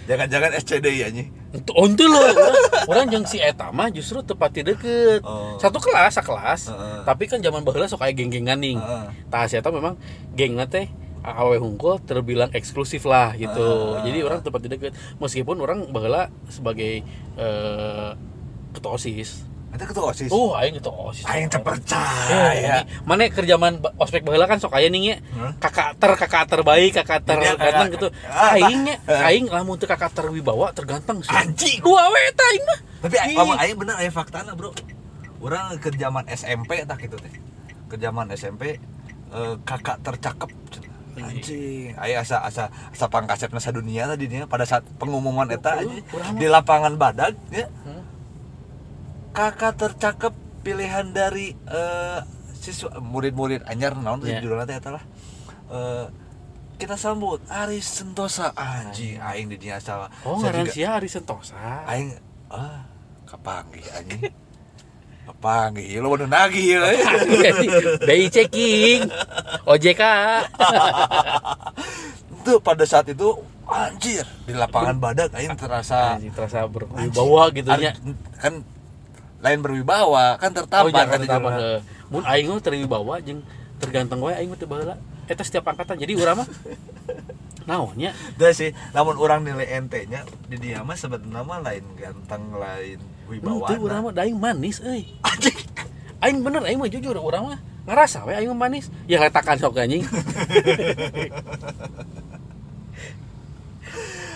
Speaker 3: jangan-jangan SCD ya nyi
Speaker 2: Itu ontel lah orang, orang yang si Eta mah justru tepat deket
Speaker 3: Oh.
Speaker 2: Satu kelas, sakelas
Speaker 3: Heeh.
Speaker 2: Tapi kan zaman baheula sok aya geng-gengan nih
Speaker 3: Heeh.
Speaker 2: Tah si Eta memang gengnya teh awe hungkul terbilang eksklusif lah gitu
Speaker 3: Heeh.
Speaker 2: Jadi orang tepat deket Meskipun orang baheula sebagai eh, ketua OSIS
Speaker 3: itu ketua osis
Speaker 2: Oh aing ketua OSIS
Speaker 3: aing teu
Speaker 2: Ya,
Speaker 3: percaya
Speaker 2: mana kerjaman ospek baheula kan sok aya nih nya
Speaker 3: Heeh.
Speaker 2: kakak ter kakak terbaik kakak ter
Speaker 3: Jadi,
Speaker 2: ganteng
Speaker 3: kakak-
Speaker 2: gitu
Speaker 3: ah, tak.
Speaker 2: aingnya
Speaker 3: Heeh.
Speaker 2: aing lamun teu kakak terwibawa terganteng sih
Speaker 3: Anjing.
Speaker 2: dua we eta aing mah
Speaker 3: tapi
Speaker 2: Ih.
Speaker 3: lamun aing bener aya faktana bro orang ke zaman SMP tak gitu teh ke zaman SMP eh, kakak tercakep anjing aya asa asa asa pangkasepna sadunia tadi nya pada saat pengumuman
Speaker 2: Heeh,
Speaker 3: eta anjing.
Speaker 2: kurang mah.
Speaker 3: di lapangan badak ya
Speaker 2: Hmm.
Speaker 3: kakak tercakep pilihan dari eh, siswa murid-murid anyar naon
Speaker 2: Iya.
Speaker 3: yeah. judulnya teh eta lah Eh, kita sambut Aris Sentosa anjing aing di dinya asa
Speaker 2: oh
Speaker 3: asa
Speaker 2: ngaran
Speaker 3: juga-
Speaker 2: sia Ari Sentosa [laughs]
Speaker 3: aing ah kapanggih anjing kapanggih lo bener nagih ya
Speaker 2: BI checking OJK
Speaker 3: [laughs] itu pada saat itu anjir di lapangan badak aing terasa
Speaker 2: Anjing, terasa berwibawa gitu nya
Speaker 3: Ar- kan lain berwibawa kan
Speaker 2: Oh,
Speaker 3: tertampar
Speaker 2: iya,
Speaker 3: kan di
Speaker 2: terutama
Speaker 3: jalan.
Speaker 2: ke- mun aing mah terwibawa jeung terganteng wae aing mah teu baheula eta setiap angkatan jadi [laughs] urang mah naonnya
Speaker 3: Udah sih, namun orang nilai NT nya di dia mah sebenarnya mah lain ganteng lain wibawa.
Speaker 2: Itu urang mah daing manis euy. Anjing. Aing bener aing mah jujur urang mah ngerasa we aing mah manis. Ya letakan sok [laughs] anjing.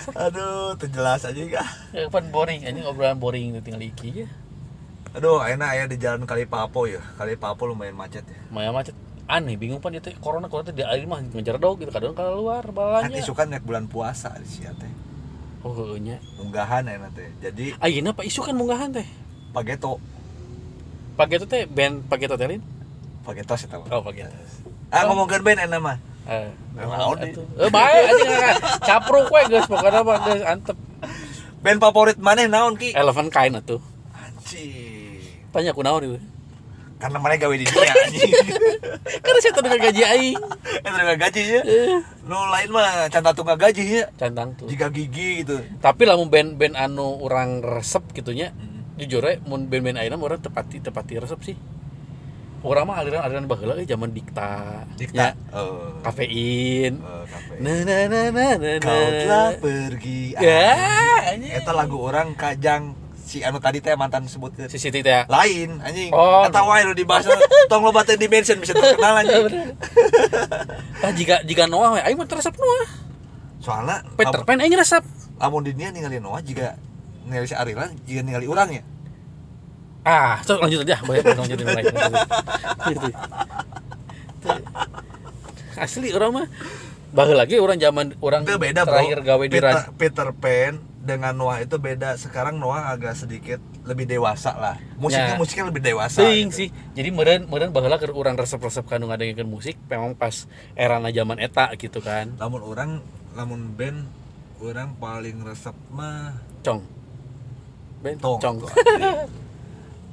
Speaker 3: Aduh, terjelas aja enggak.
Speaker 2: Eh, Pan boring anjing obrolan boring tuh tinggal iki ya.
Speaker 3: Aduh, enak ya di jalan kali Papo ya. Kali Papo lumayan macet ya.
Speaker 2: Maya macet aneh bingung pan itu corona corona teh di air mah ngejar dog gitu kadang kalau luar
Speaker 3: Kan
Speaker 2: balanya.
Speaker 3: isu kan naik bulan puasa di sia teh.
Speaker 2: Oh heueuh nya.
Speaker 3: Unggahan enak teh. Jadi
Speaker 2: Ayeuna Pak Isu kan munggahan teh.
Speaker 3: pageto
Speaker 2: Pageto teh band Pageto telin.
Speaker 3: pageto sih tahu
Speaker 2: Oh Pageto.
Speaker 3: ah ngomongkan band enak mah
Speaker 2: Eh,
Speaker 3: Naon
Speaker 2: atuh.
Speaker 3: nih?
Speaker 2: Eh, bae anjing capruk we geus pokoknya mah geus antep.
Speaker 3: band favorit mana naon ki
Speaker 2: Eleven kain atuh.
Speaker 3: anjing
Speaker 2: Tanya aku naon itu.
Speaker 3: karena mana gawe di dunia
Speaker 2: [laughs]
Speaker 3: anjing
Speaker 2: Karena saya tadi gaji aing.
Speaker 3: itu nggak gaji ya
Speaker 2: Iya.
Speaker 3: nu lain mah canta tunggal gaji ya
Speaker 2: Cantang tuh.
Speaker 3: jika gigi gitu
Speaker 2: Tapi lah mun band-band anu orang resep gitunya,
Speaker 3: Hmm.
Speaker 2: jujur ya, mun band-band ayeuna mah orang tepati tepati resep sih. Orang mah aliran-aliran baheula euy zaman dikta. Ya,
Speaker 3: dikta oh
Speaker 2: kafein.
Speaker 3: oh, kafe.
Speaker 2: Na na na na na. na.
Speaker 3: kau telah pergi
Speaker 2: Ya,
Speaker 3: anjing.
Speaker 2: anjing.
Speaker 3: eta lagu orang kajang si anu tadi teh mantan sebut
Speaker 2: Si Siti teh. ya.
Speaker 3: lain anjing
Speaker 2: Oh.
Speaker 3: eta wae lu dibahas tong lo batin di mention bisa
Speaker 2: Iya,
Speaker 3: terkenal anjing
Speaker 2: Tah ah, jika jika Noah we, aing mah resep Noah.
Speaker 3: soalnya
Speaker 2: Peter Pan aing resep.
Speaker 3: lamun di dia ningali Noah juga ningali si Arila juga ningali urang ya
Speaker 2: Ah, so, lanjut aja, banyak banget lanjutin lagi. Gitu. Asli orang mah baheula lagi orang zaman orang
Speaker 3: itu beda bro
Speaker 2: terakhir gawe di
Speaker 3: Peter,
Speaker 2: radio.
Speaker 3: Peter Pan dengan Noah itu beda sekarang Noah agak sedikit lebih dewasa lah musiknya
Speaker 2: Ya.
Speaker 3: musiknya lebih dewasa
Speaker 2: Ting
Speaker 3: gitu.
Speaker 2: sih. Jadi meureun meureun baheula keur urang resep-resep kanu ngadengkeun musik memang pas erana zaman eta gitu kan.
Speaker 3: lamun orang lamun band orang paling resep mah
Speaker 2: Cong. Ben
Speaker 3: tong
Speaker 2: Cong.
Speaker 3: tuh.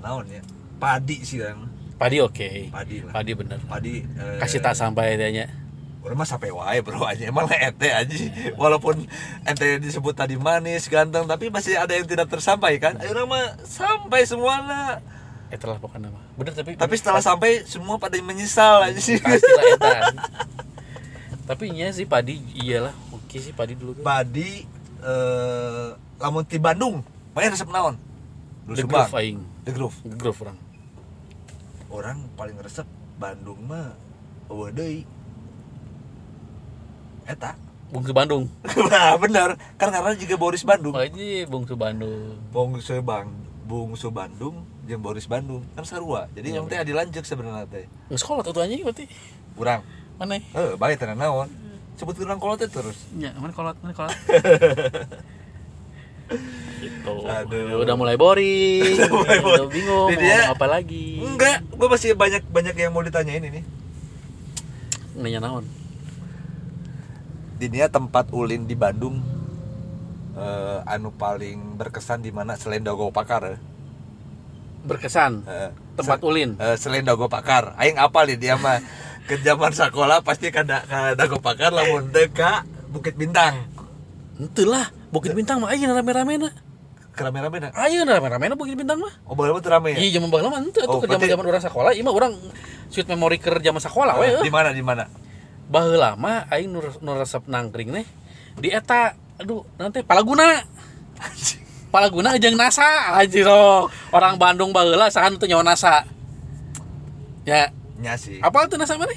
Speaker 3: Naon ya padi sih kan
Speaker 2: Padi oke.
Speaker 3: padi lah
Speaker 2: Padi bener.
Speaker 3: padi eh,
Speaker 2: Kasih tak sampai tanya.
Speaker 3: Orang mah sampai wae bro aja emang lah ente aja walaupun ente disebut tadi manis ganteng tapi masih ada yang tidak tersampaikan akhirnya mah sampai semua lah
Speaker 2: Eta lah pokoknya mah. Bener tapi
Speaker 3: tapi setelah sampai semua pada menyesal aja [laughs] sih
Speaker 2: pasti lah iya eta. Tapi nya sih padi iyalah oke sih padi dulu.
Speaker 3: padi eh, lamun di Bandung banyak resep naon Nu
Speaker 2: The
Speaker 3: Subang.
Speaker 2: Groove aing.
Speaker 3: The Groove.
Speaker 2: The Groove orang.
Speaker 3: orang paling resep Bandung mah eueuh deui eta [laughs]
Speaker 2: Bungsu Bandung.
Speaker 3: nah bener kan karena juga Boris Bandung
Speaker 2: Makanya Bungsu Bandung.
Speaker 3: Bungsu Bang Bungsu Bandung jeung Boris Bandung kan sarua jadi
Speaker 2: Iya,
Speaker 3: yang teh dilanjut sebenarnya teh
Speaker 2: Nggak sekolah tuh tuh anjing berarti.
Speaker 3: urang
Speaker 2: Mana?
Speaker 3: eh baik tenan naon sebut urang kolot teh terus
Speaker 2: Ya, mana kolot, mana
Speaker 3: [laughs]
Speaker 2: kolot. gitu.
Speaker 3: Aduh.
Speaker 2: Ya udah mulai boring.
Speaker 3: Udah [laughs] mulai boring.
Speaker 2: udah bingung
Speaker 3: Jadi
Speaker 2: mau
Speaker 3: dia-
Speaker 2: ngomong apa lagi.
Speaker 3: enggak gua masih banyak banyak yang mau ditanyain ini
Speaker 2: Nanya naon.
Speaker 3: di dia tempat ulin di Bandung eh, anu paling berkesan di mana selain Dago Pakar eh.
Speaker 2: Berkesan.
Speaker 3: Eh,
Speaker 2: Tempat
Speaker 3: se-
Speaker 2: ulin.
Speaker 3: eh, selain Dago Pakar aing apal di dia mah ke zaman sekolah pasti kada kada Dago Pakar lamun teh ka Bukit Bintang
Speaker 2: Henteu lah, Bukit Bintang mah ayeuna rame-ramena.
Speaker 3: kerame-rame dah
Speaker 2: Ayeuna rame-ramena Bukit Bintang mah.
Speaker 3: oh boleh teu rame ya
Speaker 2: Iya, zaman baheula mah henteu
Speaker 3: Oh,
Speaker 2: tuh ke
Speaker 3: berarti- Eh,
Speaker 2: zaman-zaman orang sekolah, ieu iya mah orang sweet memory keur zaman sekolah we. eh.
Speaker 3: di mana di mana [laughs]
Speaker 2: Baheula mah aing nu nu resep nangkring nih di eta aduh nanti Palaguna. Palaguna jeung NASA anjir oh. Orang Bandung baheula sahan teu nyawa NASA. Ya,
Speaker 3: nya sih
Speaker 2: apa tuh NASA mana?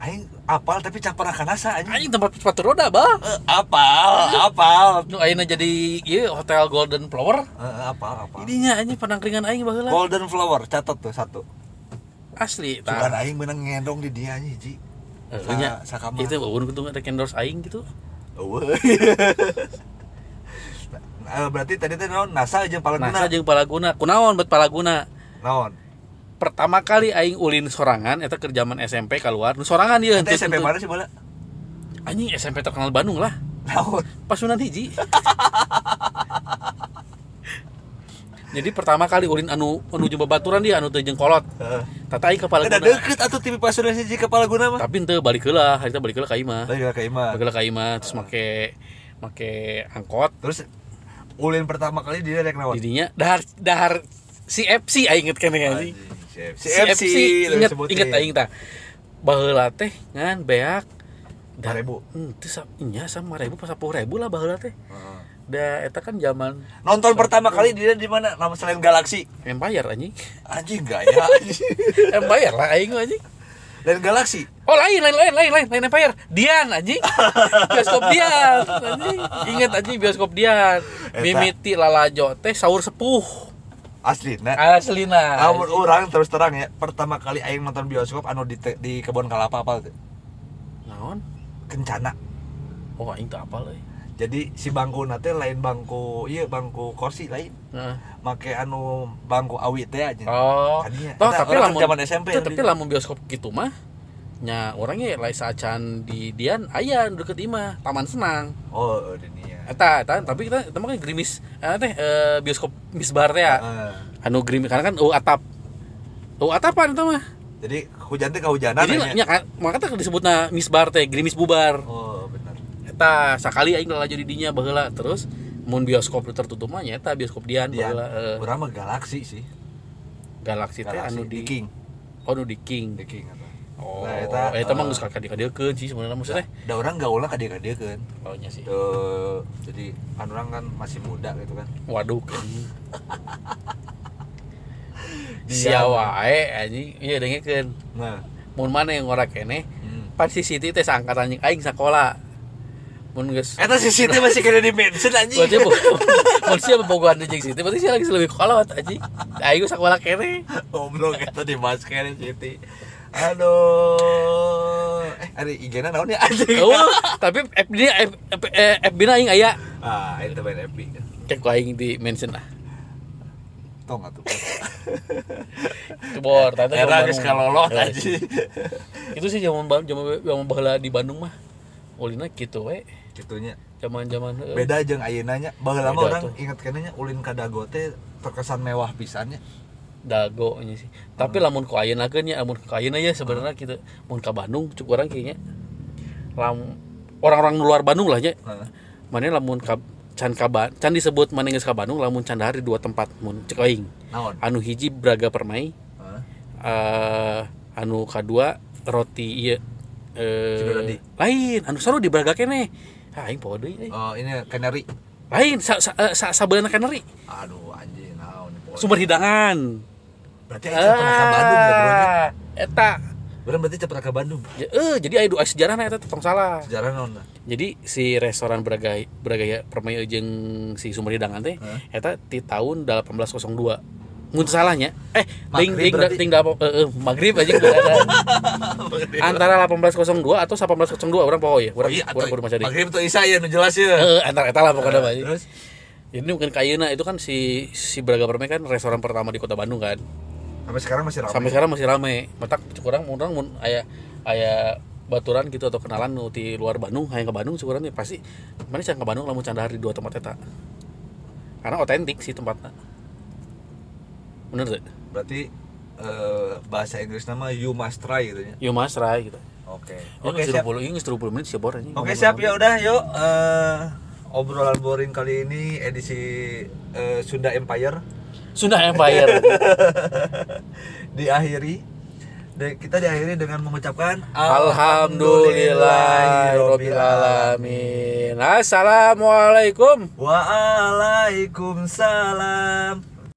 Speaker 3: aing apal tapi cak pernah kanasa anjing
Speaker 2: Anjing tempat sepatu roda, Bah.
Speaker 3: Eh, apal apal
Speaker 2: Nu ayeuna jadi ieu Hotel Golden Flower.
Speaker 3: Eh, apal apal
Speaker 2: Idinya anjing penangkringan aing baheula.
Speaker 3: Golden Flower catat tuh satu
Speaker 2: Asli. tah.
Speaker 3: Sugan aing menang ngendong di dia anjing ji
Speaker 2: Eh,
Speaker 3: Sa-
Speaker 2: nya,
Speaker 3: sakamar.
Speaker 2: Itu wawun kudu ada endorse aing gitu.
Speaker 3: Eueuh. Oh, [laughs] Eh, berarti tadi teh naon NASA jeung Palaguna.
Speaker 2: NASA jeung Palaguna. Kunaon buat Palaguna?
Speaker 3: Naon?
Speaker 2: Pertama kali aing ulin sorangan eta keur zaman SMP keluar. Nu sorangan ieu
Speaker 3: Ente SMP mana sih bola?
Speaker 2: Anjing SMP terkenal Bandung lah.
Speaker 3: Naon?
Speaker 2: Pasunan hiji. Jadi pertama kali ulin anu anu jeung babaturan dia anu teu jeung kolot.
Speaker 3: Heeh.
Speaker 2: Tata aing ke
Speaker 3: Ada
Speaker 2: Palaguna.
Speaker 3: deukeut atuh TV Pasuruan siji ke Palaguna mah.
Speaker 2: Tapi henteu balik heula, harita balik heula ka imah.
Speaker 3: Lagi ka imah.
Speaker 2: Balik heula ka imah terus make make angkot.
Speaker 3: Terus ulin pertama kali dia rek naon?
Speaker 2: Jadinya dahar dahar si FC aing inget keneh anjing.
Speaker 3: Si
Speaker 2: CFC,
Speaker 3: FC
Speaker 2: inget inget aing tah baheula teh ngan beak da-
Speaker 3: 1000.
Speaker 2: Hmm, teu sa- nya sama ribu pas 10.000 lah baheula teh da eta kan zaman
Speaker 3: Nonton pertama kali dia di mana? Nama selain Galaxy.
Speaker 2: Empire anjing [laughs]
Speaker 3: Anjing gaya anjing.
Speaker 2: Empire lah aing mah, anjing
Speaker 3: Lain Galaxy.
Speaker 2: Oh lain lain lain lain lain lain Empire Dian
Speaker 3: [laughs]
Speaker 2: anjing bioskop Dian anjing inget anjing bioskop Dian
Speaker 3: Eta.
Speaker 2: mimiti lalajo teh sahur sepuh
Speaker 3: Asli nah.
Speaker 2: aslina
Speaker 3: Namun orang terus terang ya, pertama kali aing nonton bioskop anu di, te- di kebun kelapa apa tuh?
Speaker 2: naon
Speaker 3: Kencana.
Speaker 2: oh aing teu apal euy
Speaker 3: jadi si bangku nate lain bangku iya bangku kursi lain
Speaker 2: Heeh.
Speaker 3: make anu bangku awit teh aja
Speaker 2: Nah. Oh,
Speaker 3: Tadinya.
Speaker 2: toh,
Speaker 3: Ya, kan iya. Eta
Speaker 2: tapi
Speaker 3: orang
Speaker 2: lamun
Speaker 3: zaman SMP
Speaker 2: teu,
Speaker 3: yang
Speaker 2: tapi
Speaker 3: di-
Speaker 2: lamun bioskop gitu mah nya orangnya lain saacan di Dian aya nu deket imah Taman Senang
Speaker 3: oh dunia
Speaker 2: eta eta tapi kita teman kan gerimis eh, teh eh, bioskop misbar teh ya.
Speaker 3: Heeh.
Speaker 2: anu gerimis karena kan oh atap oh atapan itu mah
Speaker 3: jadi hujan teh kehujanan
Speaker 2: jadi
Speaker 3: nya.
Speaker 2: nya kan makanya disebutna misbar teh gerimis bubar
Speaker 3: oh bener
Speaker 2: eta sakali aing lalajo di dinya baheula terus mun bioskop nu tertutup mah nya eta bioskop Dian,
Speaker 3: dia
Speaker 2: baheula eh,
Speaker 3: urang mah galaksi sih
Speaker 2: galaksi teh
Speaker 3: galaksi
Speaker 2: anu di,
Speaker 3: di, king
Speaker 2: oh anu di King
Speaker 3: di king apa
Speaker 2: Oh,
Speaker 3: Nah,
Speaker 2: eta,
Speaker 3: eta,
Speaker 2: eta mah
Speaker 3: eh,
Speaker 2: geus kakak dikadekeun sih sebenarnya maksudnya.
Speaker 3: da orang gaul ka dia dia kan
Speaker 2: Oh nya sih.
Speaker 3: jadi kan orang kan masih muda gitu kan
Speaker 2: Waduh. kan. Sia
Speaker 3: Dia-
Speaker 2: wae anjing, ieu dengekeun.
Speaker 3: nah
Speaker 2: Mun mana yang ngora kene,
Speaker 3: hmm.
Speaker 2: pan si Siti teh saangkatan jeung aing sakola. Mun geus
Speaker 3: Eta eh, si Siti masih kena di mention anjing
Speaker 2: Berarti bu, mun sia bobogohan jeung Siti, berarti sia lagi leuwih kolot anjing. Aing geus sakola kene.
Speaker 3: [laughs] Goblok itu di masker Siti. Aduh. Eh, ada IG-na naon ya anjing.
Speaker 2: Eueuh, tapi FB -nya, F- F- eh, FB -na aing aya.
Speaker 3: Ah, itu main FB.
Speaker 2: Cek ku aing di mention lah.
Speaker 3: Tong atuh.
Speaker 2: Cebor, tante
Speaker 3: Era
Speaker 2: kalau
Speaker 3: geus
Speaker 2: Bandung.
Speaker 3: kalolot
Speaker 2: Era
Speaker 3: anjing.
Speaker 2: itu sih zaman ba- zaman zaman baheula di Bandung mah ulina gitu we
Speaker 3: Kitunya.
Speaker 2: zaman-zaman eh, heueuh.
Speaker 3: Beda jeung ayeuna nya. Baheula mah
Speaker 2: Beda
Speaker 3: orang
Speaker 2: tuh.
Speaker 3: inget kenanya ulin ka Dago teh terkesan mewah pisannya.
Speaker 2: dago nya sih tapi
Speaker 3: Hmm.
Speaker 2: lamun ku ayeuna geun nya lamun ku ayeuna ya sebenarnya kita mun ka Bandung cuk urang kayaknya lam orang-orang luar Bandung lah nya
Speaker 3: Heeh.
Speaker 2: mana lamun ka can ka Ba- can disebut mana geus ka Bandung lamun can dahar di dua tempat mun cek aing
Speaker 3: Naon?
Speaker 2: anu hiji Braga Permai
Speaker 3: Heeh.
Speaker 2: eh anu kadua roti ieu eh,
Speaker 3: Ciberodi.
Speaker 2: lain anu saru di Braga kene ah aing poho deui eh.
Speaker 3: Oh, ini Canary.
Speaker 2: lain sa sa, eh, sa, sabeuleuna keneri
Speaker 3: aduh anjing naon poe.
Speaker 2: sumber hidangan
Speaker 3: berarti aing pernah ke Bandung ya bro nya.
Speaker 2: Ah, eta
Speaker 3: Urang berarti teu pernah ke Bandung
Speaker 2: Ya, eh, jadi aya dua sejarah na eta teh, tong salah
Speaker 3: sejarah [laughs] naon nah.
Speaker 2: jadi si restoran beragaya beragaya permai jeung si sumber hidangan teh
Speaker 3: Hah?
Speaker 2: eta di tahun 1802 Mun teu salahnya eh ting
Speaker 3: Maghrib
Speaker 2: ting
Speaker 3: berarti.
Speaker 2: ting da- eh, eh, maghrib aja gua ada. antara 1802 atau 1802 orang poho ya orang
Speaker 3: Iya,
Speaker 2: orang
Speaker 3: atuh.
Speaker 2: kudu maca deui.
Speaker 3: Maghrib tuh Isa ya nu jelas ya.
Speaker 2: Eh, antara eta lah pokoknya Pak.
Speaker 3: Terus
Speaker 2: Ini mungkin kayana itu kan si si Braga Permai kan restoran pertama di Kota Bandung kan.
Speaker 3: sampai sekarang masih ramai.
Speaker 2: Sampai sekarang masih rame. Matak cukurang orang mun aya aya baturan gitu atau kenalan nu di luar Bandung, hayang ke Bandung cukurang nih pasti mana can ke Bandung lamun candahar di dua tempat eta. Karena otentik sih tempatnya. Bener tuh.
Speaker 3: Berarti eh, bahasa Inggris nama you must try gitu ya.
Speaker 2: Yo Mas Rai gitu.
Speaker 3: Oke.
Speaker 2: Oke,
Speaker 3: Oke
Speaker 2: siap.
Speaker 3: siap.
Speaker 2: Ini 30 menit siap bor anjing.
Speaker 3: Oke siap ya udah yuk eh, obrolan boring kali ini edisi eh, Sunda Empire [laughs]
Speaker 2: Sunda [laughs] Empire.
Speaker 3: diakhiri De- kita diakhiri dengan mengucapkan
Speaker 2: Alhamdulillah Robbil Alamin Assalamualaikum
Speaker 3: Waalaikumsalam